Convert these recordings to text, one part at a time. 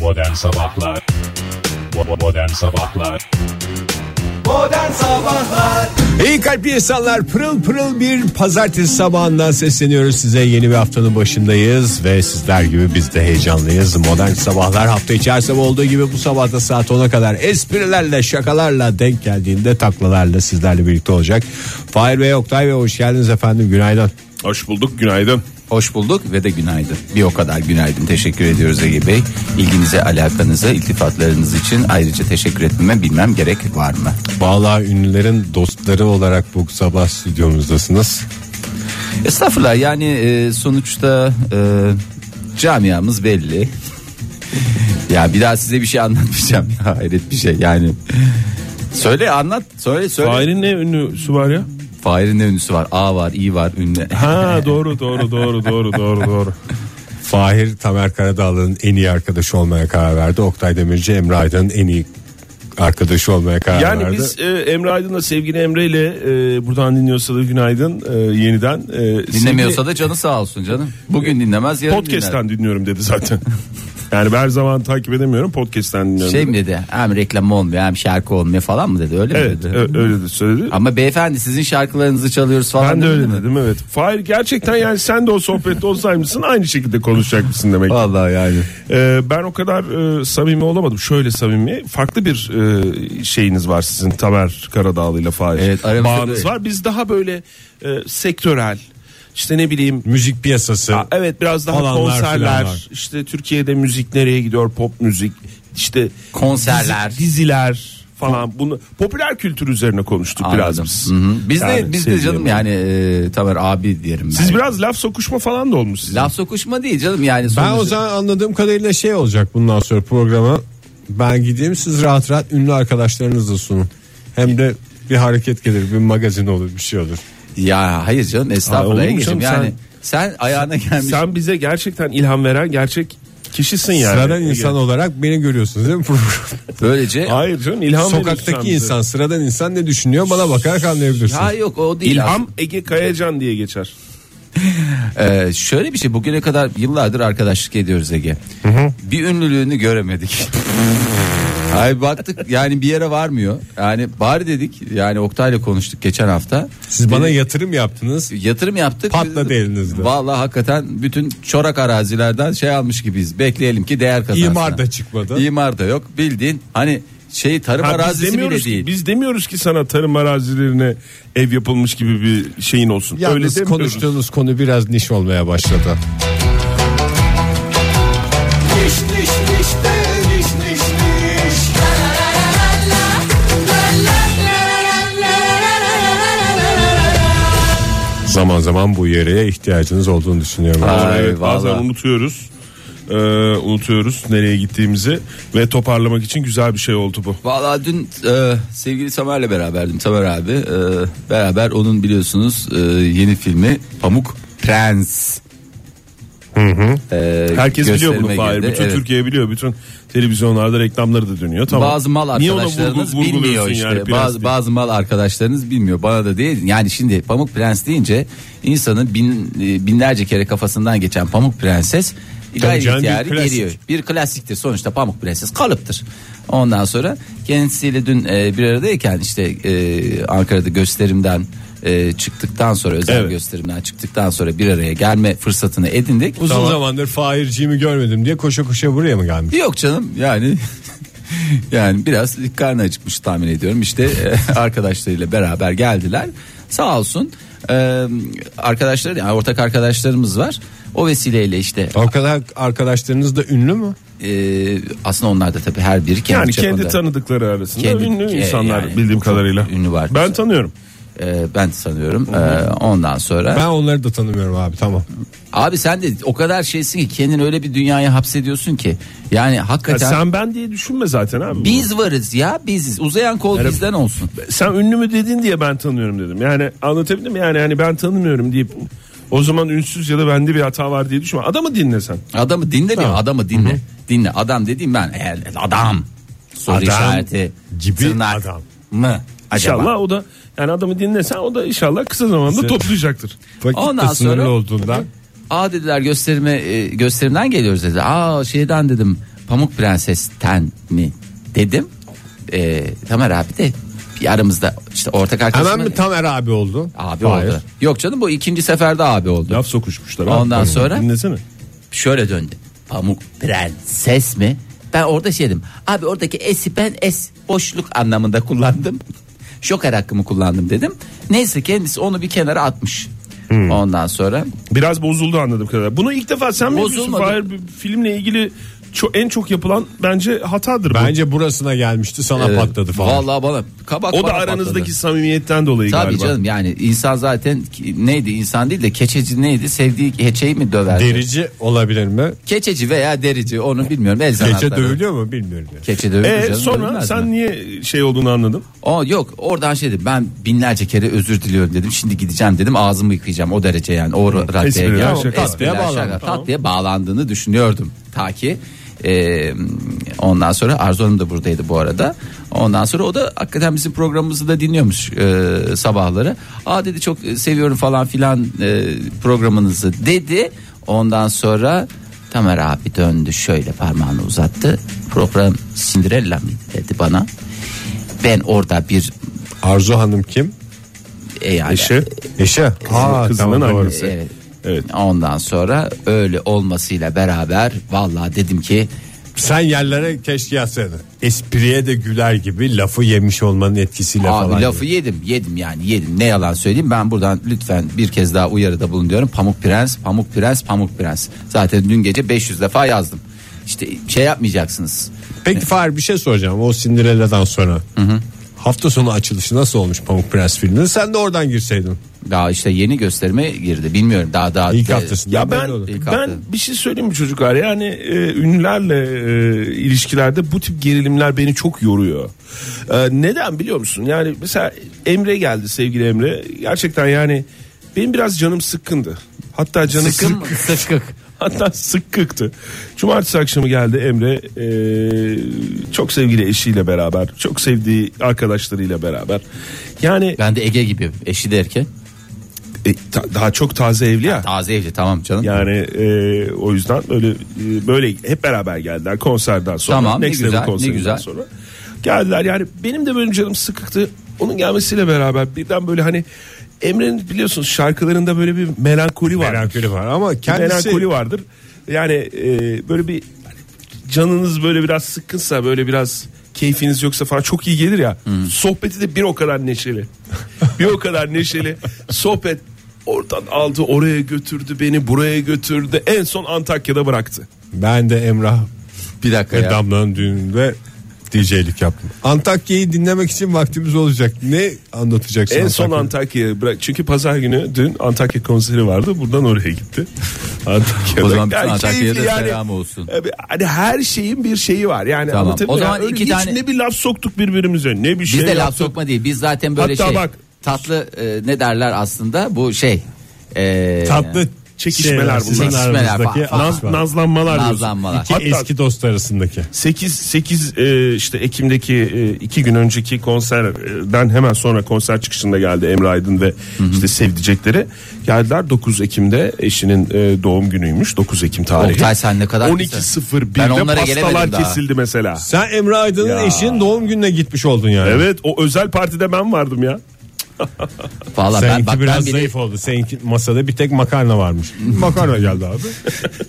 Modern Sabahlar Bo- Modern Sabahlar İyi kalpli insanlar pırıl pırıl bir pazartesi sabahından sesleniyoruz size yeni bir haftanın başındayız ve sizler gibi biz de heyecanlıyız modern sabahlar hafta içerisinde olduğu gibi bu sabah da saat 10'a kadar esprilerle şakalarla denk geldiğinde taklalarla sizlerle birlikte olacak Fahir Bey Oktay Bey hoş geldiniz efendim günaydın Hoş bulduk günaydın. Hoş bulduk ve de günaydın. Bir o kadar günaydın. Teşekkür ediyoruz Ege Bey. İlginize, alakanıza, iltifatlarınız için ayrıca teşekkür etmeme bilmem gerek var mı? Vallahi ünlülerin dostları olarak bu sabah stüdyomuzdasınız Estağfurullah yani e, sonuçta e, camiamız belli. ya bir daha size bir şey anlatmayacağım. Ya, hayret bir şey yani. Söyle anlat söyle söyle. Fahir. Fahir'in ne ünlüsü var ya? Fahir'in ne ünlüsü var? A var, İ var, ünlü. Ha doğru doğru doğru doğru doğru doğru. Fahir Tamer Karadağlı'nın en iyi arkadaşı olmaya karar verdi. Oktay Demirci Emre Aydın'ın en iyi arkadaşı olmaya karar Yani verdi. biz e, Emre Aydın'la sevgili Emre ile e, buradan dinliyorsa da günaydın e, yeniden. E, Dinlemiyorsa da canı sağ olsun canım. Bugün dinlemez yarın sevgili- dinler. Podcast'ten dinliyorum dedi zaten. yani ben her zaman takip edemiyorum podcast'ten dinliyorum. Şey Şey mi dedi? Hem reklam olmuyor hem şarkı olmuyor falan mı dedi öyle mi evet dedi? ö- öyle de söyledi. Ama beyefendi sizin şarkılarınızı çalıyoruz falan. Ben de dedi öyle mi? dedim evet. Fahir gerçekten yani sen de o sohbette olsaymışsın aynı şekilde konuşacakmışsın demek. Vallahi yani. Ee, ben o kadar e, samimi olamadım. Şöyle samimi. Farklı bir e, şeyiniz var sizin Tamer Karadağlı ile Fahir. Evet, aramızda Bağınız böyle. var. Biz daha böyle e, sektörel işte ne bileyim müzik piyasası. Ha, evet biraz daha Falanlar, konserler filanlar. işte Türkiye'de müzik nereye gidiyor pop müzik işte Konserler. dizi- diziler falan bunu popüler kültür üzerine konuştuk biraz Anladım. biz. Hı hı. Biz Yani de biz de sevgili canım Emre. yani e, Tamer abi diyelim. ben. Siz biraz laf sokuşma falan da olmuş sizin. Laf sokuşma değil canım yani. Ben sonucu- o zaman anladığım kadarıyla şey olacak bundan sonra programa. Ben gideyim siz rahat rahat ünlü arkadaşlarınızla sunun. Hem de bir hareket gelir, bir magazin olur, bir şey olur. Ya hayır canım Aa, olur mu estağfurullah Ege'ciğim canım? yani. Sen, ayağına gelmiş. Sen bize gerçekten ilham veren gerçek kişisin yani. Sıradan Ege. insan olarak beni görüyorsunuz değil mi? Böylece. Hayır canım ilham Sokaktaki verirsen bize. insan, sıradan insan ne düşünüyor bana bakarak anlayabilirsiniz. Ya yok o değil. İlham Ege Kayacan diye geçer. Ee, şöyle bir şey bugüne kadar yıllardır arkadaşlık ediyoruz Ege. Bir ünlülüğünü göremedik. Ay baktık yani bir yere varmıyor. Yani bari dedik yani Oktay'la konuştuk geçen hafta. Siz bana e, yatırım yaptınız. yatırım yaptık. Patladı elinizde. Vallahi hakikaten bütün çorak arazilerden şey almış gibiyiz. Bekleyelim ki değer kazansın. İmar da çıkmadı. İmar da yok. Bildiğin hani şey tarım Ha, biz, arazisi bile demiyoruz değil. ki, biz demiyoruz ki sana tarım arazilerine ev yapılmış gibi bir şeyin olsun. Öyle Yalnız demiyoruz. konuştuğunuz konu biraz niş olmaya başladı. Zaman zaman bu yöreye ihtiyacınız olduğunu düşünüyorum. Aa, Sonra Ay, evet, bazen vallahi. unutuyoruz. Ee, unutuyoruz nereye gittiğimizi ve toparlamak için güzel bir şey oldu bu. Vallahi dün e, sevgili Tamer'le beraberdim. Tamer abi e, beraber onun biliyorsunuz e, yeni filmi Pamuk Prens. E, Herkes biliyor bunu gösterime Fahir. girdi. Bütün Evet. Türkiye biliyor. Bütün televizyonlarda reklamları da dönüyor. Tamam. Bazı mal Niye ona arkadaşlarınız vurgu- bilmiyor vurguluyorsun işte. yani prens bazı diye? bazı mal arkadaşlarınız bilmiyor. Bana da değil. Yani şimdi Pamuk Prens deyince insanın bin, e, binlerce kere kafasından geçen Pamuk Prenses gayri canım, bir ihtiyari klasik. geliyor. Bir klasiktir sonuçta Pamuk Prenses kalıptır. Ondan sonra kendisiyle dün e, bir aradayken işte e, Ankara'da gösterimden e, çıktıktan sonra özel Evet. gösterimden çıktıktan sonra bir araya gelme fırsatını edindik. Uzun zamandır Fahir'cimi görmedim diye koşa koşa buraya mı gelmiş? Yok canım yani yani biraz karnı acıkmış tahmin ediyorum. İşte e, arkadaşlarıyla beraber geldiler. Sağ olsun e, arkadaşlar yani ortak arkadaşlarımız var. O vesileyle işte O kadar arkadaşlarınız da ünlü mü? e, aslında onlar da tabii her biri kendi yani kendi çapında. tanıdıkları arasında Kendi- ünlü e, insanlar yani bildiğim çok kadarıyla. ünlü var. Ben tanıyorum. E, ben sanıyorum. E, ondan sonra Ben onları da tanımıyorum abi tamam. abi sen de o kadar şeysin ki kendini öyle bir dünyaya hapsediyorsun ki. Yani Ya hakikaten sen ben diye düşünme zaten abi. E biz varız ya biziz. Uzayan kol bizden olsun. Sen ünlü mü dedin diye ben tanıyorum dedim. Yani anlatabildim mi? Yani hani ben tanımıyorum deyip o zaman ünsüz ya da bende bir hata var diye düşünme. Adamı dinlesen. Adamı dinle mi? Adamı dinle. Dinle. Adam dediğim ben eğer adam soru Adam işareti gibi tırnak adam. mı acaba? İnşallah o da yani adamı dinlesen o da inşallah kısa zamanda toplayacaktır. Vakit Ondan de sınırlı sonra- olduğundan Aa dediler gösterime e, gösterimden geliyoruz dedi. Aa şeyden dedim. Pamuk Prenses'ten mi dedim. Ee, Tamer abi de bir aramızda işte ortak arkadaşım. Hemen mi Tamer abi oldu? Abi Hayır. oldu. Yok canım bu ikinci seferde abi oldu. Laf sokuşmuşlar. Ondan Abi, sonra? Dinlesene. Şöyle döndü. Pamuk Prenses mi? Ben orada şey dedim. Abi oradaki es'i ben es boşluk anlamında kullandım. Şoker hakkımı kullandım dedim. Neyse kendisi onu bir kenara atmış. Hmm. Ondan sonra Biraz bozuldu anladığım kadarıyla. Bunu ilk defa sen mi yapıyorsun? Bozulmadı. Fahir? Bir filmle ilgili ço- en çok yapılan bence hatadır bu. Bence burasına gelmişti sana e, patladı falan. Vallahi bana kabak o bana da patladı. aranızdaki samimiyetten dolayı Tabii galiba. canım yani insan zaten ki- neydi insan değil de keçeci neydi sevdiği keçeyi mi döverdi? Derici olabilir mi? Keçeci veya derici onu bilmiyorum. El Gece sanatları. dövülüyor mu bilmiyorum. Keçe dövülür E canım, sonra dövülmez sen mi? niye şey olduğunu anladın? O yok oradan şey dedim ben binlerce kere özür diliyorum dedim şimdi gideceğim dedim ağzımı yıkayacağım o derece yani o ra- raddeye Espriler, geldim. şaka. Espriler, Tatlıya şaka. bağlandı, Tatlıya bağlandığını düşünüyordum ta ki e, ondan sonra Arzu Hanım da buradaydı bu arada ondan sonra o da hakikaten bizim programımızı da dinliyormuş e, sabahları aa dedi çok seviyorum falan filan e, programınızı dedi ondan sonra Tamer abi döndü şöyle parmağını uzattı program Cinderella mıydı dedi bana ben orada bir Arzu Hanım kim? e yani, Eşi. Eşe. Ha, kızının tamam, doğru. annesi. Evet. Evet. Ondan sonra öyle olmasıyla beraber vallahi dedim ki Sen yerlere keşke yatsaydın. Espriye de güler gibi lafı yemiş olmanın etkisiyle falan. abi lafı yedim yedim yani yedim ne yalan söyleyeyim ben buradan lütfen bir kez daha uyarıda bulunuyorum Pamuk Prens Pamuk Prens Pamuk Prens zaten dün gece 500 defa yazdım işte şey yapmayacaksınız Peki Fahir bir şey soracağım. O Cinderella'dan sonra. Hafta sonu açılışı nasıl olmuş Pamuk Prens filminin? Sen de oradan girseydin. daha işte yeni gösterime girdi bilmiyorum daha daha İlk daha- haftasında. Ya ben Belli olur. İlk ben hafta. bir şey söyleyeyim mi çocuklar? Yani e, ünlülerle e, ilişkilerde bu tip gerilimler beni çok yoruyor. E, neden biliyor musun? Yani mesela Emre geldi sevgili Emre. Gerçekten yani benim biraz canım sıkkındı. Hatta canım Sıkın mı? Sıkık. Hatta sıkkıktı. Cumartesi akşamı geldi Emre e, çok sevgili eşiyle beraber, çok sevdiği arkadaşlarıyla beraber. Yani Ben de Ege gibi eşi de erken. e, ta- daha çok taze evli ya. Taze evli tamam canım. Yani e, o yüzden öyle e, böyle hep beraber geldiler konserden sonra. Tamam, ne Next Level güzel, ne konserinden güzel. sonra. Geldiler yani benim de böyle canım sıkıktı. Onun gelmesiyle beraber birden böyle hani Emre'nin biliyorsunuz şarkılarında böyle bir melankoli var. Melankoli var ama Bir kendisi melankoli vardır. Yani e, böyle bir hani canınız böyle biraz sıkkınsa böyle biraz keyfiniz yoksa falan çok iyi gelir ya. Sohbeti de bir o kadar neşeli. bir o kadar neşeli. Sohbet oradan aldı oraya götürdü beni buraya götürdü. En son Antakya'da bıraktı. ben de Emrah bir dakika ve ya. Damla'nın düğününde DJ'lik yaptım. Antakya'yı dinlemek için vaktimiz olacak. Ne anlatacaksın? en son Antakya'da? Antakya'ya bırak. Çünkü pazar günü dün Antakya konseri vardı. Buradan oraya gitti. Antakya'da. O zaman bütün Yani Antakya'ya da keyifli yani. selam olsun. E, bir- Hani her şeyin bir şeyi var. Yani Tamam. anlatabiliyor O muyum? zaman Yani öyle iki hiç tane- ne bir laf soktuk birbirimize ne bir şey Biz de laf yaptık. sokma değil. Biz zaten böyle Hatta şey bak- tatlı e, ne derler aslında bu şey. e, Tatlı Çekişmeler şeyler, bunlar. sizin Çekişmeler aranızdaki falan. aşk var. Nazlanmalar diyorsun. Nazlanmalar. İki Hatta- eski dost arasındaki. 8 8 e, işte Ekim'deki e, iki gün önceki konserden hemen sonra konser çıkışında geldi Emre Aydın ve işte sevdicekleri geldiler 9 Ekim'de eşinin e, doğum günüymüş 9 Ekim tarihi. Oktay sen ne kadar güzel. 12.01'de Ben onlara pastalar gelemedim daha. kesildi mesela. Sen Emre Aydın'ın Ya. eşinin doğum gününe gitmiş oldun yani. Evet o özel partide ben vardım ya. Valla ben Seninki bak biraz ben bile- zayıf oldu. Seninki masada bir tek makarna varmış. makarna geldi abi.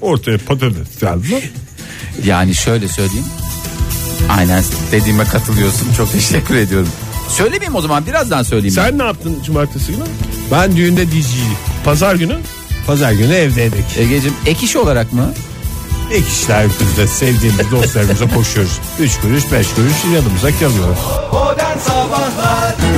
Ortaya patates geldi. yani şöyle söyleyeyim. Aynen dediğime katılıyorsun. Çok teşekkür ediyorum. Söylemeyeyim o zaman birazdan söyleyeyim. Sen ne yaptın cumartesi günü? Ben düğünde DJ'yim. Pazar günü? Pazar günü evdeydik. ben. Egeciğim ek iş olarak mı? Ek işler bizde sevdiğimiz dostlarımıza koşuyoruz. 3 kuruş 5 kuruş yanımıza kalıyor.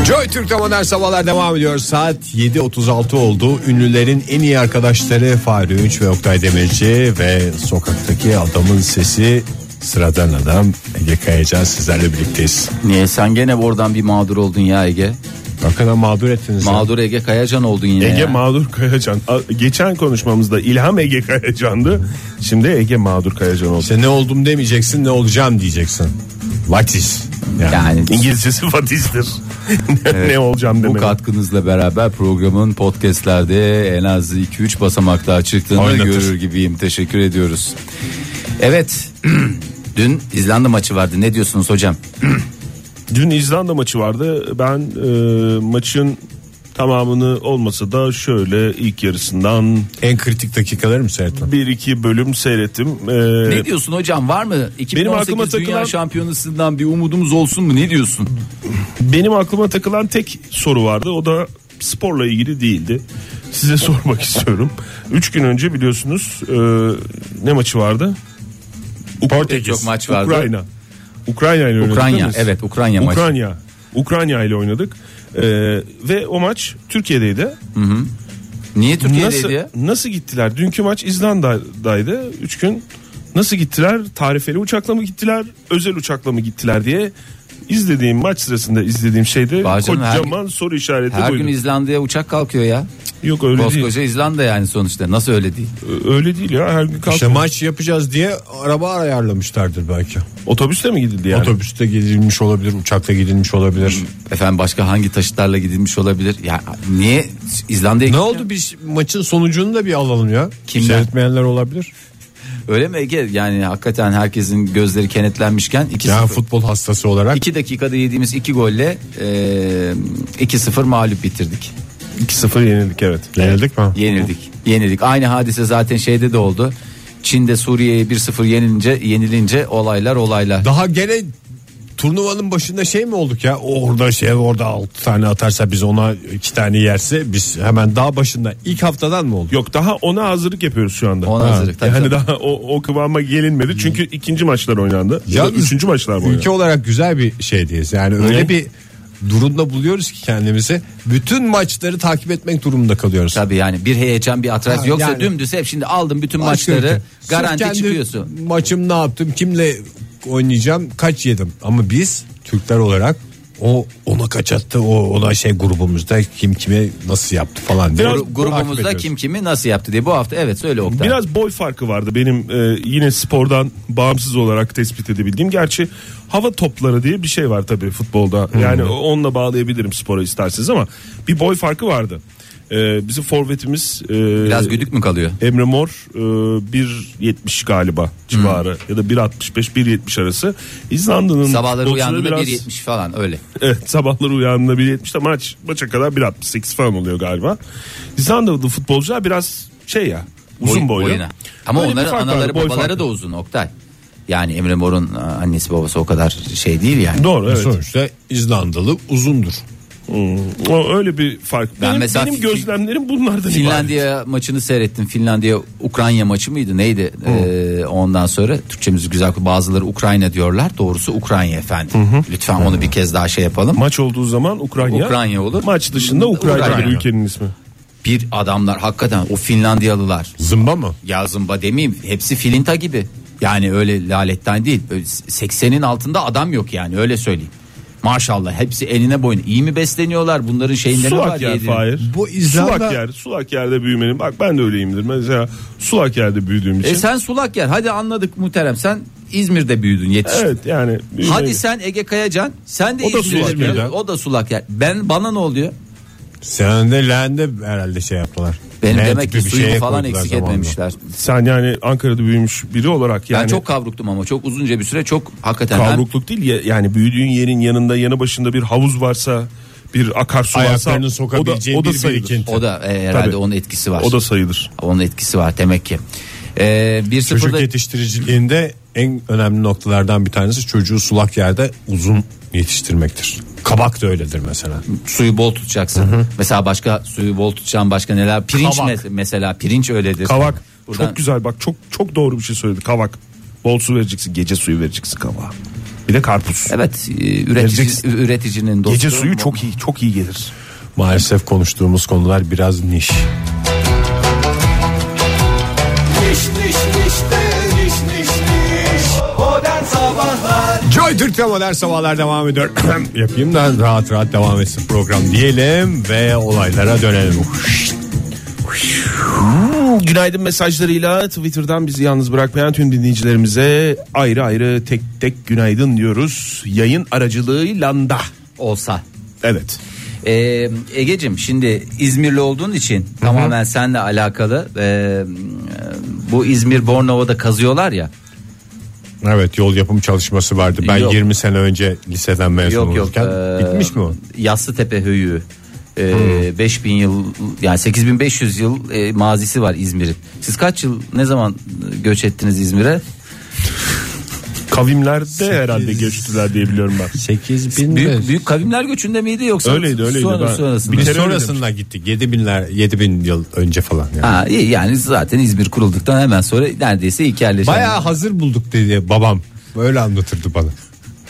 Joy Türk'te modern sabahlar devam ediyor. Saat 7.36 oldu. Ünlülerin en iyi arkadaşları Fahri Ünç ve Oktay Demirci ve sokaktaki adamın sesi sıradan adam Ege Kayacan sizlerle birlikteyiz. Niye sen gene oradan bir mağdur oldun ya Ege? Hakikaten mağdur ettiniz. ya. Mağdur Ege Kayacan oldun yine. Ege ya. Mağdur Kayacan. A- Geçen konuşmamızda İlham Ege Kayacan'dı. Şimdi Ege Mağdur Kayacan oldu. Şey- İşte ne oldum demeyeceksin ne olacağım diyeceksin. What is? Yani. yani İngilizcesi fatizdir. ne olacağım bu demek. katkınızla beraber programın podcastlerde en az 2-3 basamak daha çıktığını Oynatır. görür gibiyim. Teşekkür ediyoruz. Evet Dün İzlanda maçı vardı. Ne diyorsunuz hocam? Dün İzlanda maçı vardı. Ben e, maçın tamamını olmasa da şöyle ilk yarısından En kritik dakikaları mı seyrettin? bir iki bölüm seyrettim. E, Ne diyorsun hocam? Var mı? 2018 aklıma Dünya takılan- Şampiyonası'ndan bir umudumuz olsun mu? Ne diyorsun? Benim aklıma takılan tek soru vardı. O da sporla ilgili değildi. Size sormak istiyorum. Üç gün önce biliyorsunuz e, ne maçı vardı? Portekiz. Çok maç vardı. Ukrayna. Ukrayna ile oynadık Ukrayna, değil mi? evet, Ukrayna maçı. Ukrayna. Ukrayna ile oynadık. E, ve o maç Türkiye'deydi. Niye Türkiye'deydi Nasıl, ya? nasıl gittiler? Dünkü maç İzlanda'daydı. Üç gün nasıl gittiler? Tarifeli uçakla mı gittiler? Özel uçakla mı gittiler diye izlediğim maç sırasında izlediğim şeyde Bazen her kocaman soru işareti Her duydum. gün İzlanda'ya uçak kalkıyor ya. Yok öyle Koskoca İzlanda yani sonuçta. Nasıl öyle değil? değil. Ö- Öyle değil ya. Her gün kalkıyor. İşte maç yapacağız diye araba ayarlamışlardır belki. Otobüsle mi gidildi yani? Otobüste gidilmiş olabilir, uçakla gidilmiş olabilir. Efendim başka hangi taşıtlarla gidilmiş olabilir? Ya niye İzlanda'ya Ne gitmiyor? oldu biz maçın sonucunu da bir alalım ya. Kimden? Seyretmeyenler olabilir. Öyle mi Ege? Yani hakikaten herkesin gözleri kenetlenmişken 2 Yani futbol hastası olarak 2 dakikada yediğimiz 2 golle eee, 2-0 mağlup bitirdik. 2-0 yenildik evet. yenildik mi? Yenildik. Yenildik. Aynı hadise zaten şeyde de oldu. Çin'de Suriye'ye 1-0 yenilince yenilince olaylar olaylar. Daha gene turnuvanın başında şey mi olduk ya? Orada şey orada 6 tane atarsa biz ona 2 tane yerse biz hemen daha başında ilk haftadan mı olduk? Yok daha ona hazırlık yapıyoruz şu anda. Ona hazırlık, tabii, yani tabii. daha o, o kıvama gelinmedi. Çünkü ikinci maçlar oynandı. Ya, Yalnız üçüncü maçlar mı oynandı? Ülke olarak güzel bir şeydeyiz. Yani öyle Ne? bir durumda buluyoruz ki kendimizi. Bütün maçları takip etmek durumunda kalıyoruz. Tabii yani bir heyecan bir atras Ha, yoksa yani. dümdüz hep şimdi aldım bütün Başka maçları ülke. Sırf garanti kendi çıkıyorsun. Maçım ne yaptım? Kimle oynayacağım? Kaç yedim? Ama biz Türkler olarak o ona kaç attı o ona şey grubumuzda kim kime nasıl yaptı falan diye. Biraz takip Grubumuzda ediyoruz. kim kimi nasıl yaptı diye bu hafta evet söyle Oktay. Biraz boy farkı vardı benim e, yine spordan bağımsız olarak tespit edebildiğim. Gerçi hava topları diye bir şey var tabii futbolda. Yani o- onunla bağlayabilirim spora isterseniz ama bir boy farkı vardı. E, bizim forvetimiz e, Biraz güdük mü kalıyor? Emre Mor e, 1.70 galiba civarı ya da 1.65-1.70 arası. İzlanda'nın Sabahları boksuna uyandığında biraz- 1.70 falan öyle. Evet sabahları uyandığında 1.70 de maç maça kadar 1.68 falan oluyor galiba. İzlandalı futbolcular biraz şey ya uzun Boy- boylu. boyuna. Ama Böyle bir onların fark var, anaları boy babaları farkı. da uzun Oktay. Yani Emre Mor'un e, annesi babası o kadar şey değil yani. Doğru evet. Sonuçta İzlandalı uzundur. Hmm. O öyle bir fark. Ben benim, mesela benim Fin- gözlemlerim bunlardan ibaret. Finlandiya maçını seyrettim. Finlandiya Ukrayna maçı mıydı neydi? Ee, ondan sonra Türkçemiz güzel. Bazıları Ukrayna diyorlar. Doğrusu Ukrayna efendim. Lütfen onu bir kez daha şey yapalım. Maç olduğu zaman Ukrayna. Ukrayna olur. Maç dışında Ukrayna, Ukrayna. ülkenin ismi. Bir adamlar hakikaten o Finlandiyalılar. Zımba mı? Ya zımba demeyeyim. Hepsi filinta gibi. Yani öyle laletten değil. Böyle 80'in altında adam yok yani öyle söyleyeyim. Maşallah hepsi eline boyun. İyi mi besleniyorlar? Bunların şeyinde ne var? Sulak yer yediğin? Fahir. Bu İzlanda- Sulak yer. Sulak yerde büyümenin. Bak ben de öyleyimdir. Mesela sulak yerde büyüdüğüm için. E sen sulak yer. Hadi anladık muhterem. Sen İzmir'de büyüdün yetiştin. Evet yani. Hadi büyümeyi- sen Ege Kayacan, sen de O da İzmir'de sulak biliyorsun. yer. O da sulak yer. Ben bana ne oluyor? Sen de leğende herhalde şey yaptılar. Benim Leğen demek ki tipi bir suyumu şeye falan koydular eksik zamanında. etmemişler. Sen yani Ankara'da büyümüş biri olarak yani. ben çok kavruktum ama çok uzunca bir süre çok hakikaten ben- Kavrukluk değil ya- yani büyüdüğün yerin yanında yanı başında bir havuz varsa bir akarsu varsa Ayaklarını sokabileceğin bir sayılır. birikinti. o da e, herhalde Tabii. onun etkisi var. O da sayılır. onun etkisi var demek ki. Ee, bir Çocuk sıfırda yetiştiriciliğinde en önemli noktalardan bir tanesi çocuğu sulak yerde uzun yetiştirmektir. Kabak da öyledir mesela. suyu bol tutacaksın. Mesela başka suyu bol tutacağın başka neler? Pirinç Kavak. mes- mesela pirinç öyledir. Kavak Buradan- çok güzel bak çok çok doğru bir şey söyledi kavak. Bol su vereceksin gece suyu vereceksin kavağa. Bir de karpuz. Evet, e, üretici, Vereceksin. üreticinin dostu. Gece suyu çok iyi çok iyi gelir. Maalesef konuştuğumuz konular biraz niş. Joy Türk'te modern sabahlar devam ediyor. Yapayım da rahat rahat devam etsin program diyelim ve olaylara dönelim. Günaydın mesajlarıyla Twitter'dan bizi yalnız bırakmayan tüm dinleyicilerimize ayrı ayrı tek tek günaydın diyoruz. Yayın aracılığıyla da. olsa. Evet. Ee, Ege'cim şimdi İzmirli olduğun için tamamen e, seninle alakalı ee, bu İzmir Bornova'da kazıyorlar ya Evet yol yapım çalışması vardı. Ben Yok. 20 sene önce liseden mezun Yok yok. olurken. eee, Bitmiş mi o? Yassıtepe Höyüğü. Eee, 5000 yıl yani 8500 yıl eee, mazisi var İzmir'in. Siz kaç yıl ne zaman göç ettiniz İzmir'e? Kavimlerde herhalde göçtüler diye biliyorum ben. 8 Büyük, büyük kavimler göçünde miydi yoksa Öyleydi, öyleydi. sonra Ben- sonrasında? Bir kere öyle sonrasında gittik. 7 binler 7 bin yıl önce falan. Yani. Ha, iyi yani zaten İzmir kurulduktan hemen sonra neredeyse ilk yerleşen. Bayağı hazır bulduk dedi babam. Böyle anlatırdı bana.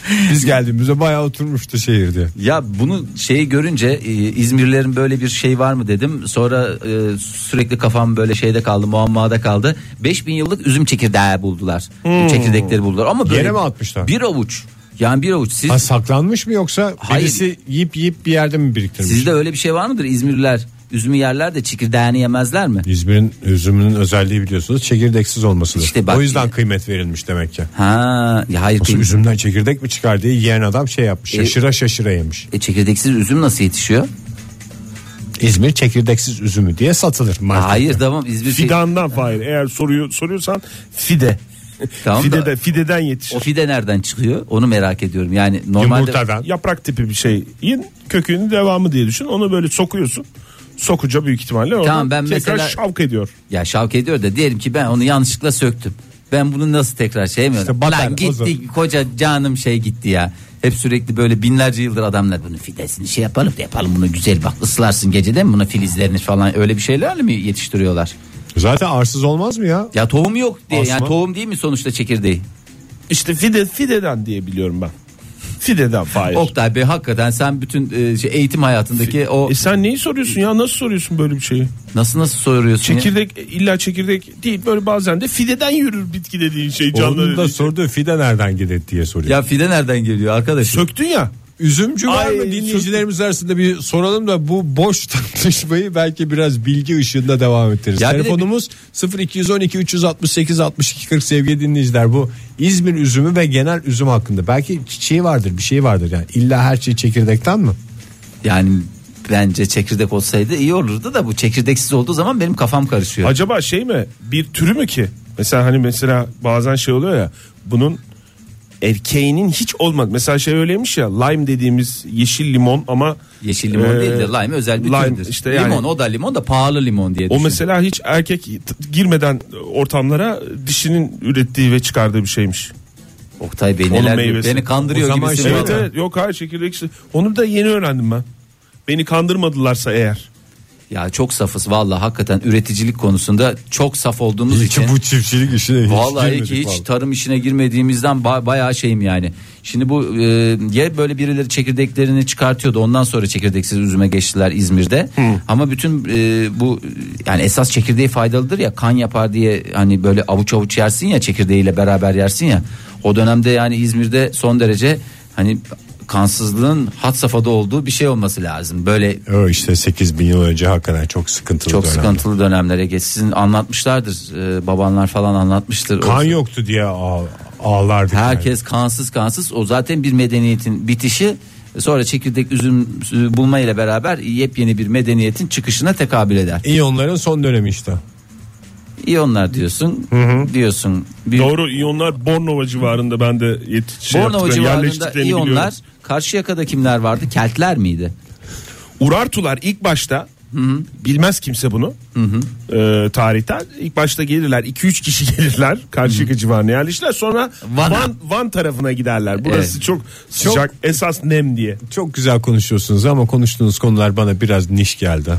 Biz geldiğimizde bayağı oturmuştu şehirde. Ya bunu şeyi görünce e, İzmirlilerin böyle bir şey var mı dedim. Sonra e, sürekli kafam böyle şeyde kaldı, muammada kaldı. 5000 yıllık üzüm çekirdeği buldular. Çekirdekleri buldular ama böyle Hmm. Yere mi atmışlar? Bir avuç. Yani bir avuç. Siz Ha, saklanmış mı yoksa Hayır. birisi yiyip yiyip bir yerde mi biriktirmiş? sizde öyle bir şey var mıdır İzmirliler? Üzümü yerler de çekirdeğini yemezler mi? İzmir'in üzümünün özelliği biliyorsunuz çekirdeksiz olmasıdır. İşte bak- o yüzden kıymet verilmiş demek ki. Ha, ya hayır. Nasıl kıy- üzümden çekirdek mi çıkar diye yiyen adam şey yapmış. E- Şaşıra şaşıra yemiş. E, çekirdeksiz üzüm nasıl yetişiyor? İzmir çekirdeksiz üzümü diye satılır. markette. Hayır tamam İzmir çek- Fidandan Fahir eğer soruyu soruyorsan fide. Tamam da- Fidede, fideden yetişir. O fide nereden çıkıyor? Onu merak ediyorum. Yani normalde Yumurtadan. Yaprak tipi bir şeyin kökünün devamı diye düşün. Onu böyle sokuyorsun. Sokuca büyük ihtimalle oradan Tamam, ben tekrar mesela- şavk ediyor. Ya şavk ediyor da diyelim ki ben onu yanlışlıkla söktüm. Ben bunu nasıl tekrar şey mi? İşte batar, Lan o zaman. gitti koca canım şey gitti ya. Hep sürekli böyle binlerce yıldır adamlar bunu fidesini şey yapalım da yapalım bunu güzel bak ıslarsın gecede mi bunu filizlerini falan öyle bir şeylerle mi yetiştiriyorlar? Zaten arsız olmaz mı ya? Ya tohum yok diye yani Aslında- tohum değil mi sonuçta çekirdeği? İşte fide fideden diye biliyorum ben. Fideden Fahir. Oktay Bey hakikaten sen bütün e, şey, eğitim hayatındaki o E sen neyi soruyorsun ya? Nasıl soruyorsun böyle bir şeyi? nasıl nasıl soruyorsun ya? Çekirdek illa çekirdek değil böyle bazen de fideden yürür bitki dediğin şey Onun canlı. da sorduğu fide nereden gelir diye soruyor. Ya fide nereden geliyor arkadaşım? Söktün ya. Üzümcü var Ay, mı dinleyicilerimiz arasında bir soralım da bu boş tartışmayı belki biraz bilgi ışığında devam ettiririz. Ya bir de Telefonumuz 0212 368 62 40 sevgili dinleyiciler bu İzmir üzümü ve genel üzüm hakkında. Belki çiçeği vardır bir şey vardır yani illa her şey çekirdekten mi? Yani bence çekirdek olsaydı iyi olurdu da bu çekirdeksiz olduğu zaman benim kafam karışıyor. Acaba şey mi? Bir türü mü ki? Mesela hani mesela bazen şey oluyor ya. Bunun erkeğinin hiç olmadı. Mesela şey öyleymiş ya. Lime dediğimiz yeşil limon ama Yeşil limon e, değil de lime özel bir lime türdür. işte yani- limon o da limon da pahalı limon diye O düşün. mesela hiç erkek t- girmeden ortamlara dişinin ürettiği ve çıkardığı bir şeymiş. Oktay Bey Onun neler meyvesi. beni kandırıyor O zaman gibisin. şey- valla. Evet evet yok hayır çekirdek işte. Onu da yeni öğrendim ben. Beni kandırmadılarsa eğer. Ya çok safız valla hakikaten üreticilik konusunda çok saf olduğumuz İyi ki için. bu çiftçilik işine hiç Vallahi girmedik ki hiç vallahi. tarım işine girmediğimizden ba- bayağı şeyim yani. Şimdi bu e, ya böyle birileri çekirdeklerini çıkartıyordu ondan sonra çekirdeksiz üzüme geçtiler İzmir'de. Ama bütün e, bu e, yani esas çekirdeği faydalıdır ya kan yapar diye hani böyle avuç avuç yersin ya çekirdeğiyle beraber yersin ya. O dönemde yani İzmir'de son derece hani kansızlığın hat safhada olduğu bir şey olması lazım. Böyle Ö, işte 8 bin yıl önce hakikaten çok sıkıntılı çok dönemdi. sıkıntılı dönemlere geç. Sizin anlatmışlardır e, babanlar falan anlatmıştır. O- Kan yoktu diye ağ- ağlardık. yani. Herkes kansız kansız o zaten bir medeniyetin bitişi sonra çekirdek üzüm e, bulma ile beraber yepyeni bir medeniyetin çıkışına tekabül eder. İyonların son dönemi işte. İyi onlar diyorsun. Diyorsun. Bir Doğru iyonlar Bornova civarında ben de yet- şey Bornova yaptıklarını, civarında yerleştiklerini iyi onlar. biliyorum. Karşıyaka'da kimler vardı? Keltler miydi? Urartular ilk başta bilmez kimse bunu e, tarihten. İlk başta gelirler 2-3 kişi gelirler Karşıyaka civarına yerleşirler. Sonra Van'a. Van, Van tarafına giderler. Burası Evet. çok sıcak esas nem diye. Çok güzel konuşuyorsunuz ama konuştuğunuz konular bana biraz niş geldi.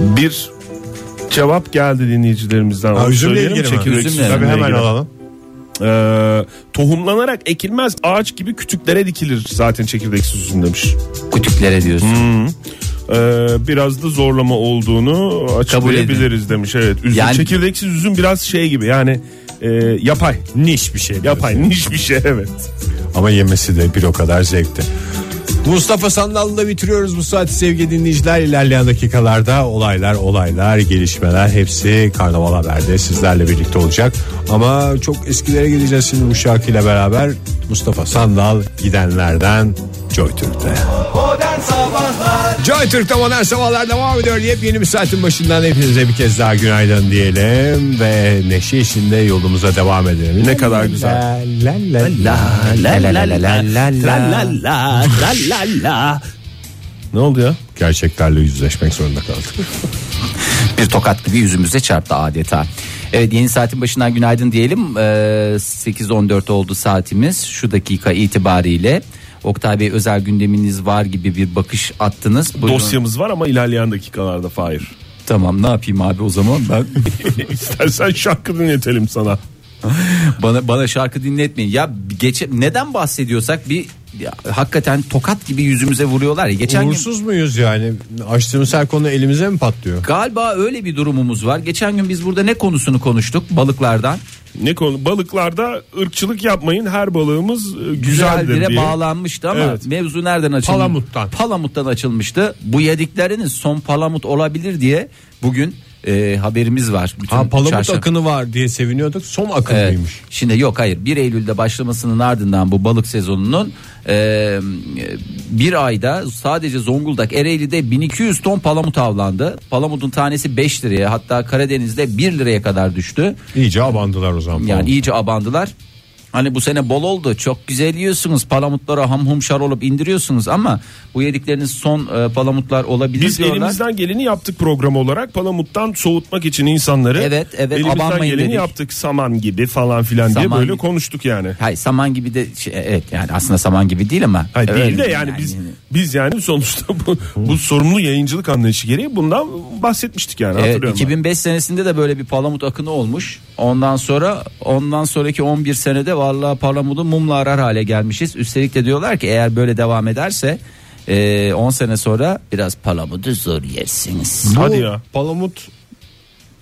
Bir cevap geldi dinleyicilerimizden. Ha, Onu üzümle söyleyelim, ilgili mi? çekirdek Üzümle, üzümle Tabii hemen ilgili. alalım. Ee, tohumlanarak ekilmez ağaç gibi kütüklere dikilir zaten çekirdeksiz üzüm demiş. Kütüklere diyorsun. Ee, biraz da zorlama olduğunu açıklayabiliriz demiş. Evet. Üzüm, Yani- çekirdeksiz üzüm biraz şey gibi yani e, yapay. Niş bir şey. Yapay niş bir şey evet. Ama yemesi de bir o kadar zevkti. Mustafa Sandal'la bitiriyoruz bu saati sevgili dinleyiciler. İlerleyen dakikalarda olaylar, olaylar, gelişmeler hepsi Karnaval Haber'de sizlerle birlikte olacak. Ama çok eskilere gideceğiz şimdi bu şarkıyla beraber. Mustafa Sandal gidenlerden Joy Türk'te. Joy Türk'te modern sabahlar devam ediyor. Yepyeni bir saatin başından hepinize bir kez daha günaydın diyelim. Ve neşe içinde yolumuza devam edelim. Ne kadar güzel. Ne oldu ya? Gerçeklerle yüzleşmek zorunda kaldık. bir tokat gibi yüzümüze çarptı adeta. Evet yeni saatin başından günaydın diyelim. Ee, 8.14 oldu saatimiz. Şu dakika itibariyle Oktay Bey özel gündeminiz var gibi bir bakış attınız. Buyurun. Dosyamız var ama ilerleyen dakikalarda Fahir. Tamam ne yapayım abi o zaman ben İstersen şarkı dinletelim sana. bana bana şarkı dinletmeyin. Ya geç neden bahsediyorsak bir ya, hakikaten tokat gibi yüzümüze vuruyorlar ya. Geçen gün Uğursuz muyuz yani? Açtığımız her konu elimize mi patlıyor? galiba öyle bir durumumuz var. Geçen gün biz burada ne konusunu konuştuk balıklardan. Ne konu? Balıklarda ırkçılık yapmayın. Her balığımız e, güzel güzeldir bire diye. bağlanmıştı ama Evet. mevzu nereden açıldı? Palamut'tan. Palamut'tan açılmıştı. Bu yedikleriniz son palamut olabilir diye bugün e, haberimiz var. Bütün Ha palamut çarşaf- akını var diye seviniyorduk. Son akın Evet. mıymış? Şimdi yok hayır 1 Eylül'de başlamasının ardından bu balık sezonunun e, e, bir ayda sadece Zonguldak Ereğli'de 1200 ton palamut avlandı. Palamutun tanesi 5 liraya hatta Karadeniz'de 1 liraya kadar düştü. İyice abandılar o zaman. Yani palamut. iyice abandılar. Hani bu sene bol oldu. Çok güzel yiyorsunuz. Palamutlara ham humşar olup indiriyorsunuz ama bu yedikleriniz son e, palamutlar olabilir Biz diyorlar. elimizden geleni yaptık program olarak. Palamuttan soğutmak için insanları. Evet, evet, Elimizden abanmayın geleni dedik. yaptık. Saman gibi falan filan diye Saman böyle gibi. konuştuk yani. Hayır saman gibi de şey, evet yani aslında saman gibi değil ama. Hayır, değil Öyle de yani, biz biz yani sonuçta bu, bu sorumlu yayıncılık anlayışı gereği bundan bahsetmiştik yani Evet, hatırlıyorum. ben. 2005 senesinde de böyle bir palamut akını olmuş. Ondan sonra ondan sonraki 11 senede vallahi palamudu mumla arar hale gelmişiz. Üstelik de diyorlar ki eğer böyle devam ederse e, 10 sene sonra biraz palamudu zor yersiniz. Bu Hadi ya. Palamut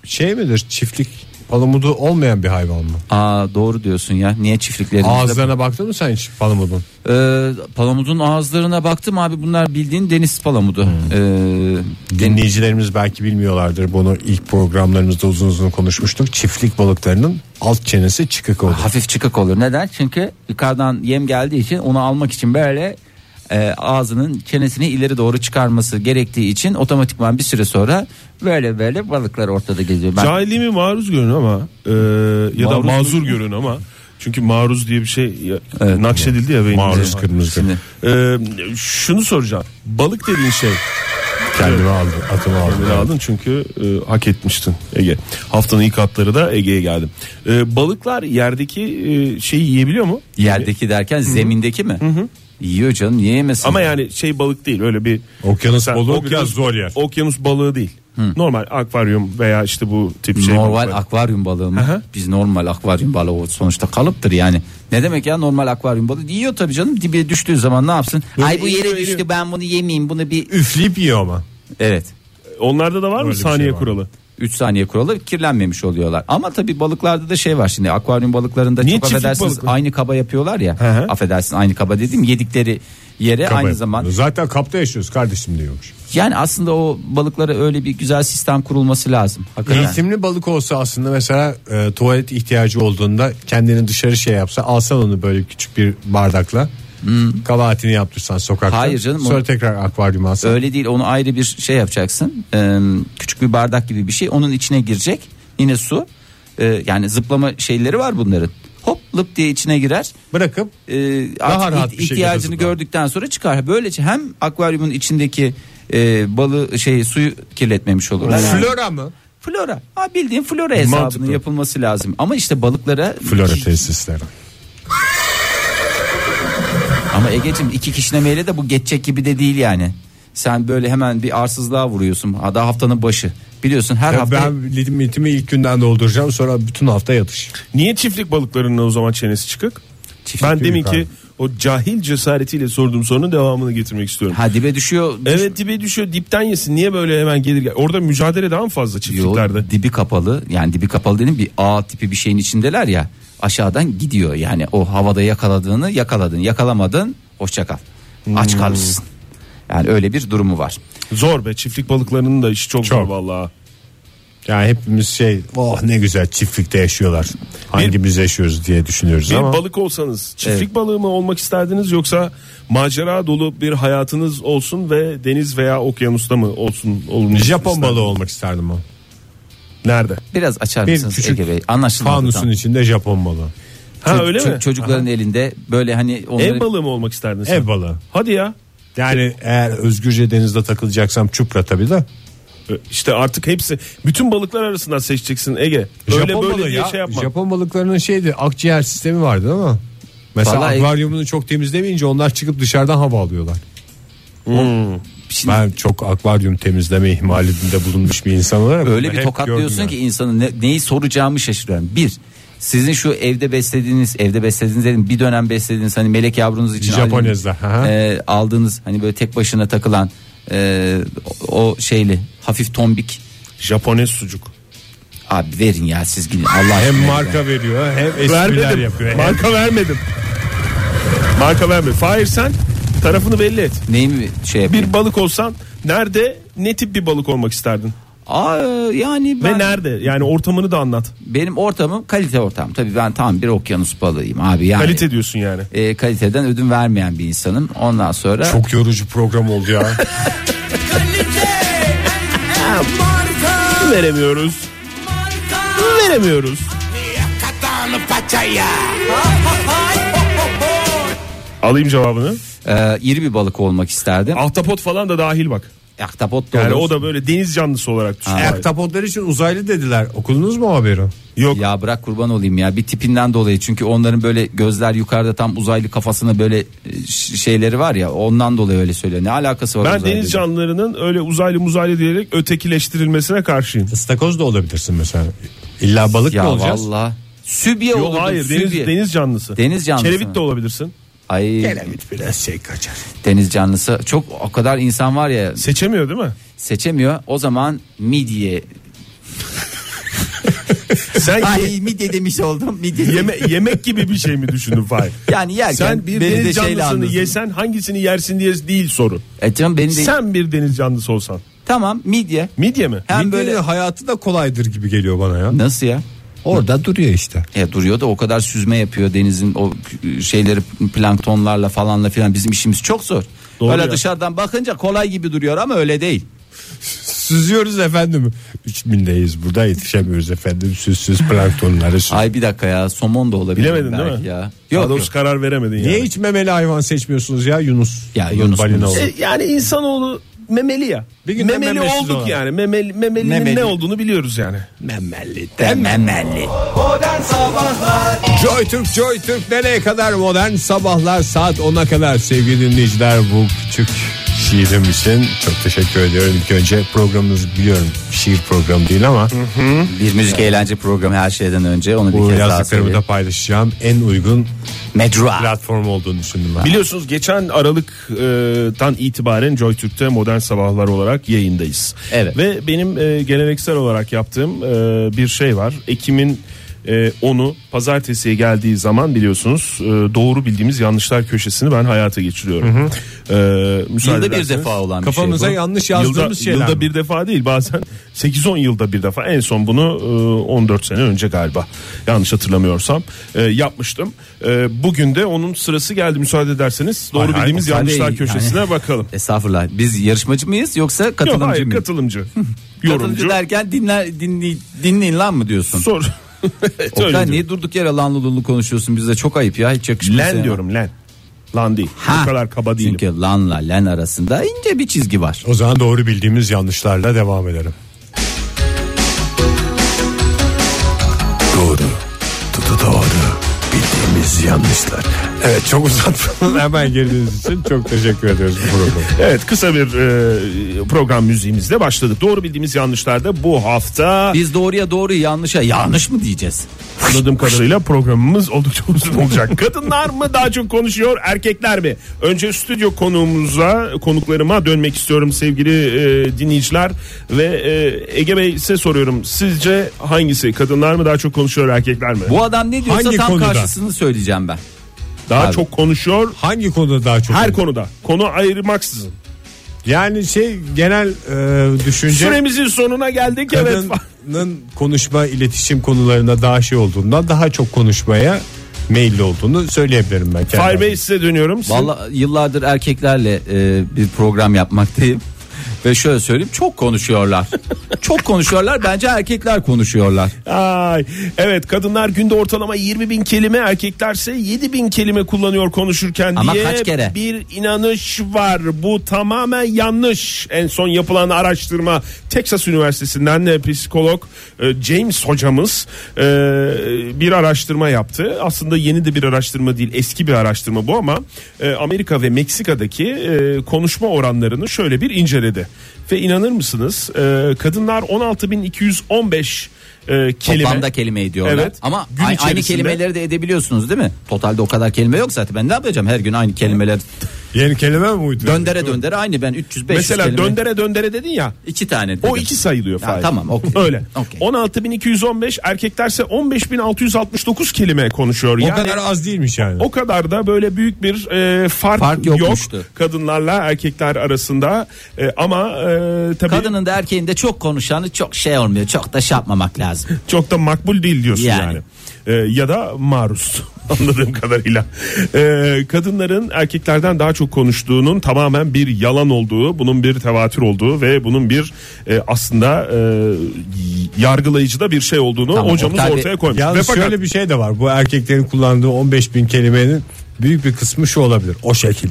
şey midir? Çiftlik palamudu olmayan bir hayvan mı? Aa doğru diyorsun ya. Niye çiftliklerimizde? Ağızlarına baktın mı sen hiç palamudun? Ee, palamudun ağızlarına baktım abi bunlar bildiğin deniz palamudu. Ee, den- Dinleyicilerimiz belki bilmiyorlardır. Bunu ilk programlarımızda uzun uzun konuşmuştuk. Çiftlik balıklarının alt çenesi çıkık olur. hafif çıkık olur. Neden? Çünkü yukarıdan yem geldiği için onu almak için böyle e, ağzının çenesini ileri doğru çıkarması gerektiği için otomatikman bir süre sonra böyle böyle balıklar ortada geziyor. Ben, Cahilliğimi maruz görün ama e, ya da Maruz mu? mazur görün ama çünkü maruz diye bir şey ya- Evet. nakşedildi ya benim. Maruz kırmızı. Şimdi- e, şunu soracağım. Balık dediğin şey Kendimi aldı. Atımı Haberi aldı. aldın çünkü e, hak etmiştin Ege. Haftanın ilk hatları da Ege'ye geldim. E, balıklar yerdeki e, şeyi yiyebiliyor mu? Yerdeki derken zemindeki mi? Yiyor canım niye yemesin? Ama yani şey balık değil öyle bir Okyanus Sen- balığı biraz zor yer. Okyanus balığı değil. Normal akvaryum veya işte bu tip şey. normal balıklar. akvaryum balığı mı? Aha. Biz normal akvaryum balığı o sonuçta kalıptır yani. Ne demek ya normal akvaryum balığı? Yiyor tabii canım dibe düştüğü zaman ne yapsın? Ay bu yere düştü ben bunu yemeyeyim bunu bir... Üfleyip yiyor ama. Evet. Onlarda da var mı Öyle bir saniye şey var. kuralı? 3 saniye kuralı kirlenmemiş oluyorlar. Ama tabii balıklarda da şey var şimdi akvaryum balıklarında Niye çok çiftlik affedersiniz balık mı? aynı kaba yapıyorlar ya. Hı hı. Affedersin aynı kaba dedim yedikleri yere aynı zaman. Zaten kapta yaşıyoruz kardeşim diyormuş. Yani aslında o balıklara öyle bir güzel sistem kurulması lazım. Hakikaten. Eğitimli balık olsa aslında mesela e, tuvalet ihtiyacı olduğunda kendini dışarı şey yapsa alsan onu böyle küçük bir bardakla kabahatini yaptırsan sokakta. Hmm. Hayır canım, Sonra onu- tekrar akvaryuma alsan. Öyle değil onu ayrı bir şey yapacaksın. Ee, küçük bir bardak gibi bir şey onun içine girecek. Yine su. Ee, yani zıplama şeyleri var bunların. Hop lıp diye içine girer. Bırakıp Ee, Daha artık rahat iht- bir şekilde ihtiyacını zıplar. gördükten sonra çıkar. Böylece hem akvaryumun içindeki e, balığı şey suyu kirletmemiş olurlar. Yani flora mı? flora. Ha bildiğin flora hesabının Mantıklı. yapılması lazım. Ama işte balıklara Flora tesisleri. Ama Ege'cim iki kişnemeyle de bu geçecek gibi de değil yani. Sen böyle hemen bir arsızlığa vuruyorsun. Ha, Daha haftanın başı. Biliyorsun her Ya hafta ben limitimi ilk günden dolduracağım sonra bütün hafta yatış. Niye çiftlik balıklarının o zaman çenesi çıkık? Çiftlik ben demin abi. ki o cahil cesaretiyle sorduğum sorunun devamını getirmek istiyorum. ha dibe düşüyor. Evet dibe düşüyor dipten yesin niye böyle hemen gelir gel. Orada mücadele daha mı fazla Yo, çiftliklerde? dibi kapalı. Yani dibi kapalı dedim bir ağ tipi bir şeyin içindeler ya. Aşağıdan gidiyor yani o havada yakaladığını yakaladın yakalamadın hoşça kal. Hmm. Aç kalırsın. Yani öyle bir durumu var. Zor be çiftlik balıklarının da işi çok, zor Çok. vallahi. Yani hepimiz şey oh ne güzel çiftlikte yaşıyorlar. Hangimiz yaşıyoruz diye düşünüyoruz Bir ama. balık olsanız çiftlik balığı mı olmak isterdiniz yoksa macera dolu bir hayatınız olsun ve deniz veya okyanusta mı olsun olun Japon balığı olmak isterdim o. Nerede? Biraz açar Bir mısınız küçük Ege Bey? Anlaşılmadı. Fanusun tam. içinde Japon balığı. Ha Ço- öyle ço- mi? Çocukların elinde böyle E, hani onların Ev balığı mı olmak isterdiniz? Ev balığı. Hadi ya. Yani Şey, eğer özgürce denizde takılacaksam çupra tabii de. İşte artık hepsi bütün balıklar arasından seçeceksin Ege. Öyle böyle diye ya, şey yapma. Japon balıklarının şeydi akciğer sistemi vardı ama. Mesela Vallahi- akvaryumunu çok temizlemeyince onlar çıkıp dışarıdan hava alıyorlar. Hmm. Şimdi- Ben çok akvaryum temizleme ihmalinde bulunmuş bir insan olarak. öyle bunu bir hep gördüm tokatlıyorsun yani. ki insanın ne- neyi soracağımı şaşırıyorum. Bir sizin şu evde beslediğiniz evde beslediğiniz dedim bir dönem beslediğiniz hani melek yavrunuz için Japonezler, aldığınız, aha. e, aldığınız hani böyle tek başına takılan e, o, o şeyli hafif tombik Japonez sucuk. abi verin ya siz gidin Allah Hem aşkına. marka veriyor hem espriler Vermedim. yapıyor. Hem- Marka vermedim. Marka vermedim. Fahir sen tarafını belli et. Neyi mi şey yapayım? Bir balık olsan nerede ne tip bir balık olmak isterdin? Aa, yani ben, Ve nerede? Yani ortamını da anlat. benim ortamım kalite ortam. Tabii ben tam bir okyanus balığıyım abi yani. Kalite diyorsun yani. E, kaliteden ödün vermeyen bir insanım. Ondan sonra Çok yorucu program oldu ya. Veremiyoruz. Veremiyoruz. Alayım cevabını. e, iri bir balık olmak isterdim. Ahtapot falan da dahil bak. Ahtapot da Yani olur. o da böyle deniz canlısı olarak düşün. Evet. Ahtapotlar için uzaylı dediler. Okudunuz mu o haberi? Yok. Ya bırak kurban olayım ya bir tipinden dolayı çünkü onların böyle gözler yukarıda tam uzaylı kafasına böyle e, ş- şeyleri var ya ondan dolayı öyle söylüyor. Ne alakası var? Ben uzaylı deniz ile? canlılarının öyle uzaylı muzaylı diyerek ötekileştirilmesine karşıyım. Istakoz da olabilirsin mesela. İlla balık Ya mı olacağız? valla. Sübye Yok olurdum, hayır deniz, sübye. deniz canlısı. Deniz canlısı Kerevit mı? de olabilirsin. Ay biraz şey kaçar. deniz canlısı çok o kadar insan var ya Seçemiyor değil mi? seçemiyor o zaman midye. Sen Ay midye demiş oldum midye. yeme, yemek gibi bir şey mi düşündün Fahir? Yani yerken Sen bir beni de şeyle deniz canlısını anlasın. yesen hangisini yersin diye değil soru. E canım beni de- Sen bir deniz canlısı olsan. tamam midye. Midye mi? Hem Midye'nin böyle hayatı da kolaydır gibi geliyor bana ya. nasıl ya? Orada duruyor işte. E, duruyor da o kadar süzme yapıyor denizin o e, şeyleri planktonlarla falanla filan bizim işimiz çok zor. Doğru öyle ya. dışarıdan bakınca kolay gibi duruyor ama öyle değil. Süzüyoruz efendim. 3000'deyiz burada yetişemiyoruz efendim. Süzsüz planktonları süz. Ay bir dakika ya somon da olabilir. Bilemedin belki değil mi? Ya. Daha Yok, yok. doğrusu karar veremedin yani. Niye hiç memeli hayvan seçmiyorsunuz ya Yunus? Ya Yunus, balina Yunus. olur. E, yani insanoğlu memeli ya. Bir gün de memeli memesiz olduk olan. yani. Memeli, memelinin Memeli. ne olduğunu biliyoruz yani. Dememelli. Joy Türk, Joy Türk nereye kadar modern sabahlar saat 10'a kadar sevgili dinleyiciler bu küçük şiirim için çok teşekkür ediyorum. İlk önce programımız biliyorum şiir programı değil ama Bir müzik eğlence programı her şeyden önce onu bu bir kez daha yazdıklarımı da söyleyeyim. paylaşacağım en uygun Medra. platform olduğunu düşündüm ben. Biliyorsunuz geçen Aralık'tan itibaren JoyTürk'te Modern Sabahlar olarak yayındayız. Evet. Ve benim e, geleneksel olarak yaptığım e, bir şey var. Ekim'in e, onu pazartesiye geldiği zaman biliyorsunuz e, doğru bildiğimiz yanlışlar köşesini ben hayata geçiriyorum. E, müsaade Yılda bir ederseniz. defa olan bir Kafamıza şey bu. yanlış yazdığımız yılda, şeyler yılda mi? bir defa değil bazen 8-10 yılda bir defa en son bunu e, 14 sene önce galiba yanlış hatırlamıyorsam e, yapmıştım. E, Bugün de onun sırası geldi müsaade ederseniz doğru Hay hay, bildiğimiz müsaade yanlışlar yani. köşesine bakalım. Estağfurullah. Biz yarışmacı mıyız yoksa Yok katılımcı hayır mıyız? katılımcı Katılımcı yorumcu derken dinler, dinley, dinleyin lan mı diyorsun? sor. Evet, öyle Oktay diyorum. niye durduk yere lan lululu konuşuyorsun bize çok ayıp ya hiç yakışmıyor. Len sana. diyorum len. Lan değil. Ha. Bu kadar kaba değilim. Çünkü lanla len arasında ince bir çizgi var. O zaman doğru bildiğimiz yanlışlarla devam edelim. Doğru. Tutu doğru. Bildiğimiz yanlışlar. Evet çok uzatmadan hemen girdiğiniz için çok teşekkür ediyoruz bu programı. Evet kısa bir e, program müziğimizle başladık. Doğru bildiğimiz yanlışlarda bu hafta Biz doğruya doğru yanlışa yanlış mı diyeceğiz? Anladığım kadarıyla programımız oldukça uzun olacak. Kadınlar mı daha çok konuşuyor, erkekler mi? Önce stüdyo konuğumuza, konuklarıma dönmek istiyorum sevgili e, dinleyiciler ve e, Ege Bey size soruyorum. Sizce hangisi? Kadınlar mı daha çok konuşuyor, erkekler mi? Bu adam ne diyorsa Hangi tam konuda? karşısını söyleyeceğim ben. Daha Abi. çok konuşuyor Hangi konuda daha çok? her konuda. Konu ayırmaksızın. Yani şey genel e, düşünce Süremizin sonuna geldik evet. kadının konuşma iletişim konularına daha şey olduğundan daha çok konuşmaya meyilli olduğunu söyleyebilirim ben. kendi Fahir Bey adıma. size dönüyorum. Sizin- Valla yıllardır erkeklerle e, bir program yapmaktayım. Ve şöyle söyleyeyim çok konuşuyorlar. çok konuşuyorlar bence erkekler konuşuyorlar. Ay, evet kadınlar günde ortalama 20 bin kelime erkeklerse 7 bin kelime kullanıyor konuşurken Ama diye kaç kere? bir inanış var. Bu tamamen yanlış. En son yapılan araştırma Texas Üniversitesi'nden de psikolog e, James hocamız e, bir araştırma yaptı. Aslında yeni de bir araştırma değil eski bir araştırma bu ama e, Amerika ve Meksika'daki e, konuşma oranlarını şöyle bir inceledi. Ve inanır mısınız e, kadınlar 16.215 e, kelime. Toplamda kelimeyi diyorlar. Evet. Ama Gün a- aynı içerisinde- kelimeleri de edebiliyorsunuz değil mi? Totalde o kadar kelime yok zaten. Ben ne yapacağım her gün aynı kelimeler Yeni kelime mi uydu? döndere döndere aynı ben 300 500 Mesela kelime. döndere döndere dedin ya. iki tane dedim. O iki sayılıyor Ya Fahir. tamam, okey. Öyle. Okey. 16.215 erkeklerse 15.669 kelime konuşuyor. O yani kadar az değilmiş yani. o kadar da böyle büyük bir e, fark, Fark yok yokmuştu. kadınlarla erkekler arasında. E, ama e, tabii Kadının da erkeğin de çok konuşanı çok şey olmuyor. Çok da şey yapmamak lazım. çok da makbul değil diyorsun yani. Yani. E, ya da maruz anladığım kadarıyla. E, kadınların erkeklerden daha çok konuştuğunun tamamen bir yalan olduğu, bunun bir tevatür olduğu ve bunun bir e, aslında e, yargılayıcı da bir şey olduğunu Tamam, hocamız Oktay Bey- ortaya koymuş. Yalnız Ve fakat- şöyle bir şey de var. Bu erkeklerin kullandığı 15 bin kelimenin büyük bir kısmı şu olabilir. O şekil.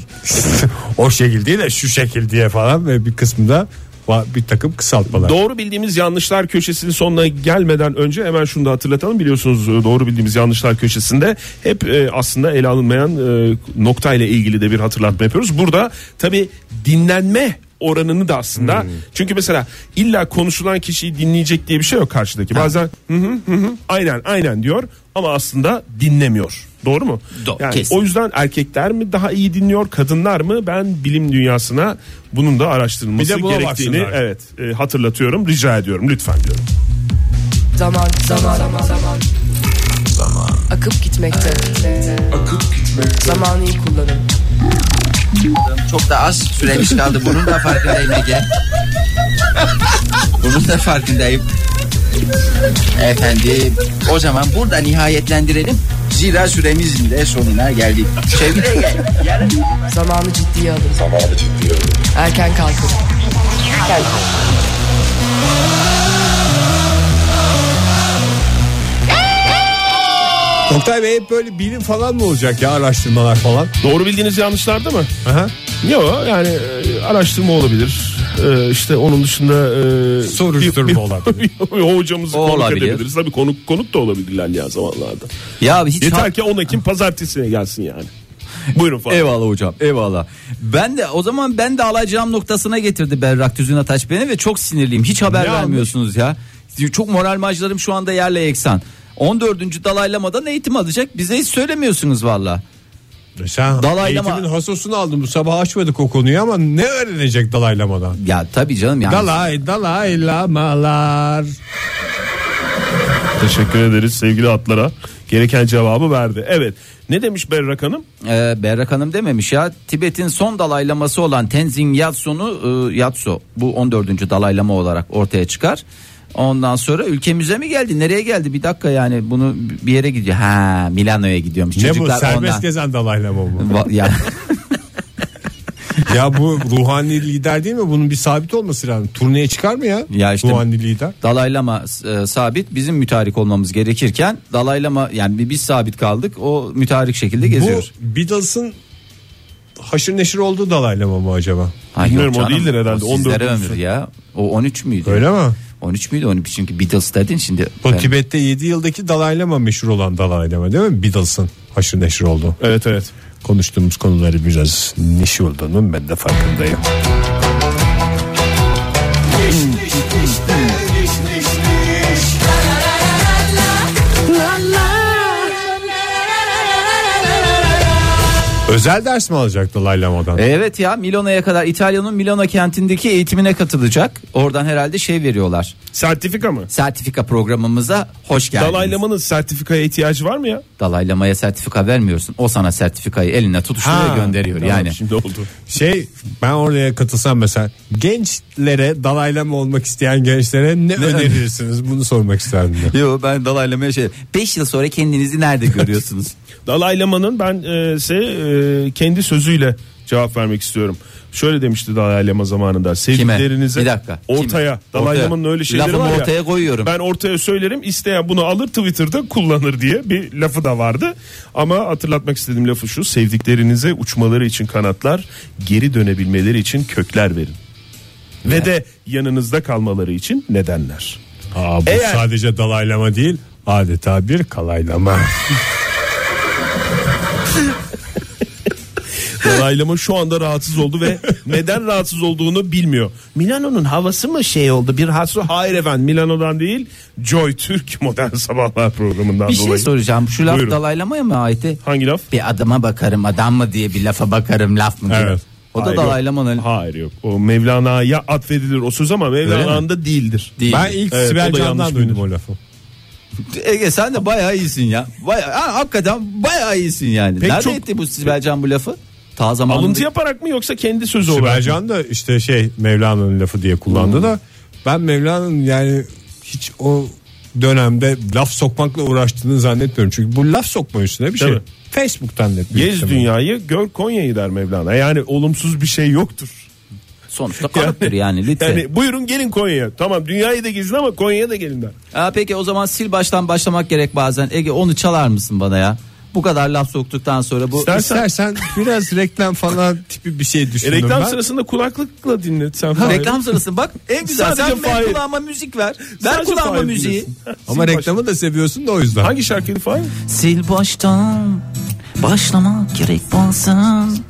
o şekil değil de şu şekil diye falan ve bir kısmında va- bir takım kısaltmalar. Doğru bildiğimiz yanlışlar köşesinin sonuna gelmeden önce hemen şunu da hatırlatalım. Biliyorsunuz e, doğru bildiğimiz yanlışlar köşesinde hep e, aslında ele alınmayan e, noktayla ilgili de bir hatırlatma yapıyoruz. Burada tabi dinlenme oranını da aslında çünkü mesela illa konuşulan kişiyi dinleyecek diye bir şey yok karşıdaki. Bazen hı hı hı hı, aynen aynen diyor ama aslında dinlemiyor. Doğru mu? Doğru, Yani kesin. o yüzden erkekler mi daha iyi dinliyor, kadınlar mı? Ben bilim dünyasına bunun da araştırılması Bir de buna gerektiğini baksınlar. evet e, hatırlatıyorum, rica ediyorum, lütfen diyorum. Zaman zaman zaman zaman akıp gitmekte. Akıp gitmekte. Zamanı iyi kullanın. Çok da az süremiz kaldı. Bunun da farkındayım Ege. Bunun da farkındayım. Efendim o zaman burada nihayetlendirelim. Zira süremizin de sonuna geldik. Sevgili Ege yarın Zamanı ciddiye alın. Zamanı ciddiye alın. Erken kalkın. Oktay Bey hep böyle bilim falan mı olacak ya araştırmalar falan? Doğru bildiğiniz yanlışlarda mı? Aha. Yok yani e, araştırma olabilir. E, işte onun dışında e, Soruşturma olabilir. bir hocamızı O konuk olabilir. edebiliriz. Tabii konuk konuk da olabilirler ya zamanlarda. Ya abi hiç Yeter ki 10 Ekim pazartesine gelsin yani. Buyurun falan. Eyvallah hocam eyvallah. Ben de o zaman ben de alacağım noktasına getirdi Berrak Tüzün Ataç beni ve çok sinirliyim. Hiç haber Ne vermiyorsunuz ya. Çok moral maclarım şu anda yerle eksan. 14. Dalaylama'dan eğitim alacak. Bize hiç söylemiyorsunuz valla. Sen Dalaylama- eğitimin hasosunu aldın bu sabah açmadık o konuyu ama ne öğrenecek dalaylamadan? Ya tabii canım yani. Dalay dalaylamalar. Teşekkür ederiz sevgili atlara. Gereken cevabı verdi. Evet. Ne demiş Berrak Hanım? Ee, Berrak Hanım dememiş ya. Tibet'in son dalaylaması olan Tenzin Yatso'nu e, Yatso bu 14. dalaylama olarak ortaya çıkar. Ondan sonra ülkemize mi geldi? Nereye geldi? Bir dakika yani bunu bir yere gidiyor. Ha Milano'ya gidiyormuş. ne bu Çocuklar serbest ondan. gezen dalaylama mı? Va- ya ya bu ruhani lider değil mi? Bunun bir sabit olması lazım. Turneye çıkar mı ya? Ya işte- ruhani lider. Dalai Lama e, sabit bizim mütarik olmamız gerekirken Dalai Lama yani bi- biz sabit kaldık o mütarik şekilde geziyor. Bu Beatles'ın haşır neşir olduğu dalaylama mı acaba? Hayır Bilmiyorum, o değildir herhalde, O sizlere 14'üncüsü. ömür ya. O 13 müydü? Öyle mi? 13 müydü 13 çünkü Beatles dedin şimdi. Bu Ben- Tibet'te 7 yıldaki dalaylama meşhur olan dalaylama değil mi? Beatles'ın haşır neşir olduğu. Evet evet. Konuştuğumuz konuları biraz neşir olduğunun ben de farkındayım. Özel ders mi alacak E- dalaylamadan? Evet ya Milano'ya kadar İtalya'nın Milano kentindeki eğitimine katılacak. Oradan herhalde şey veriyorlar. Sertifika mı? sertifika programımıza hoş geldiniz. Dalaylamanın sertifikaya ihtiyacı var mı ya? Dalaylamaya sertifika vermiyorsun. O sana sertifikayı eline tutuşturuyor Ha, gönderiyor yani. Şimdi oldu. Şey ben oraya katılsam mesela gençlere dalaylama olmak isteyen gençlere ne, önerirsiniz bunu sormak isterdim. ben. Yo ben dalaylamaya şey 5 yıl sonra kendinizi nerede görüyorsunuz? Dalay Lama'nın ben e, size e, kendi sözüyle cevap vermek istiyorum. Şöyle demişti Dalai Lama zamanında. Sevgililerinize Bir dakika. Kime? ortaya. Dalai Ortaya. Lama'nın öyle şeyleri Lafımı var ya. ortaya koyuyorum. Ben ortaya söylerim isteyen bunu alır Twitter'da kullanır diye bir lafı da vardı. Ama hatırlatmak istediğim lafı şu. Sevdiklerinize uçmaları için kanatlar, geri dönebilmeleri için kökler verin. Ve de yanınızda kalmaları için nedenler. Aa, bu Eğer- sadece dalaylama değil adeta bir kalaylama. Dalai Lama şu anda rahatsız oldu ve neden rahatsız olduğunu bilmiyor. Milano'nun havası mı şey oldu? Bir hasso hayır efendim Milano'dan değil. Joy Türk Modern Sabahlar programından bir şey dolayı. soracağım. Şu laf Buyurun. dalaylamaya mı ait? Hangi laf? Bir adama bakarım adam mı diye bir lafa bakarım laf mı diye. Evet. O da Hayır, dalaylamanın yok. Hayır yok. O Mevlana'ya atfedilir o söz ama Mevlana'nın da değildir. değil. ben ilk Evet, o Sibel da Can'dan yanlış duydum bilir. o lafı. Ege sen de bayağı iyisin ya. Bayağı, ha, hakikaten bayağı iyisin yani. Pek Nerede çok- etti bu Sibel Can bu lafı? Ta zamanında. Alıntı yaparak mı yoksa kendi sözü Sibel olarak mı? Can da işte şey Mevlana'nın lafı diye kullandı da Hmm. ben Mevlana'nın yani hiç o dönemde laf sokmakla uğraştığını zannetmiyorum. Çünkü bu laf sokma üstüne bir şey. Tabii. Facebook'tan net bir Gez şey. dünyayı gör Konya'yı der Mevlana. Yani olumsuz bir şey yoktur. Sonuçta kalıptır yani lütfen. Yani buyurun gelin Konya'ya. Tamam dünyayı da gezin ama Konya'ya da gelin der. Aa, peki o zaman sil baştan başlamak gerek bazen. Ege onu çalar mısın bana ya? Bu kadar laf soktuktan sonra bu İster- İstersen biraz reklam falan tipi bir şey E, düşündüm reklam ben. sırasında kulaklıkla dinlet sen. Ha, falan. reklam sırası bak en güzel Sadece sen ver Fahir. kulağıma müzik ver. Ver Sadece kulağıma Fahir müziği. bilirsin. Ama reklamı da seviyorsun da o yüzden. Hangi şarkıydı Fahir? Sil baştan başlamak gerek bazen.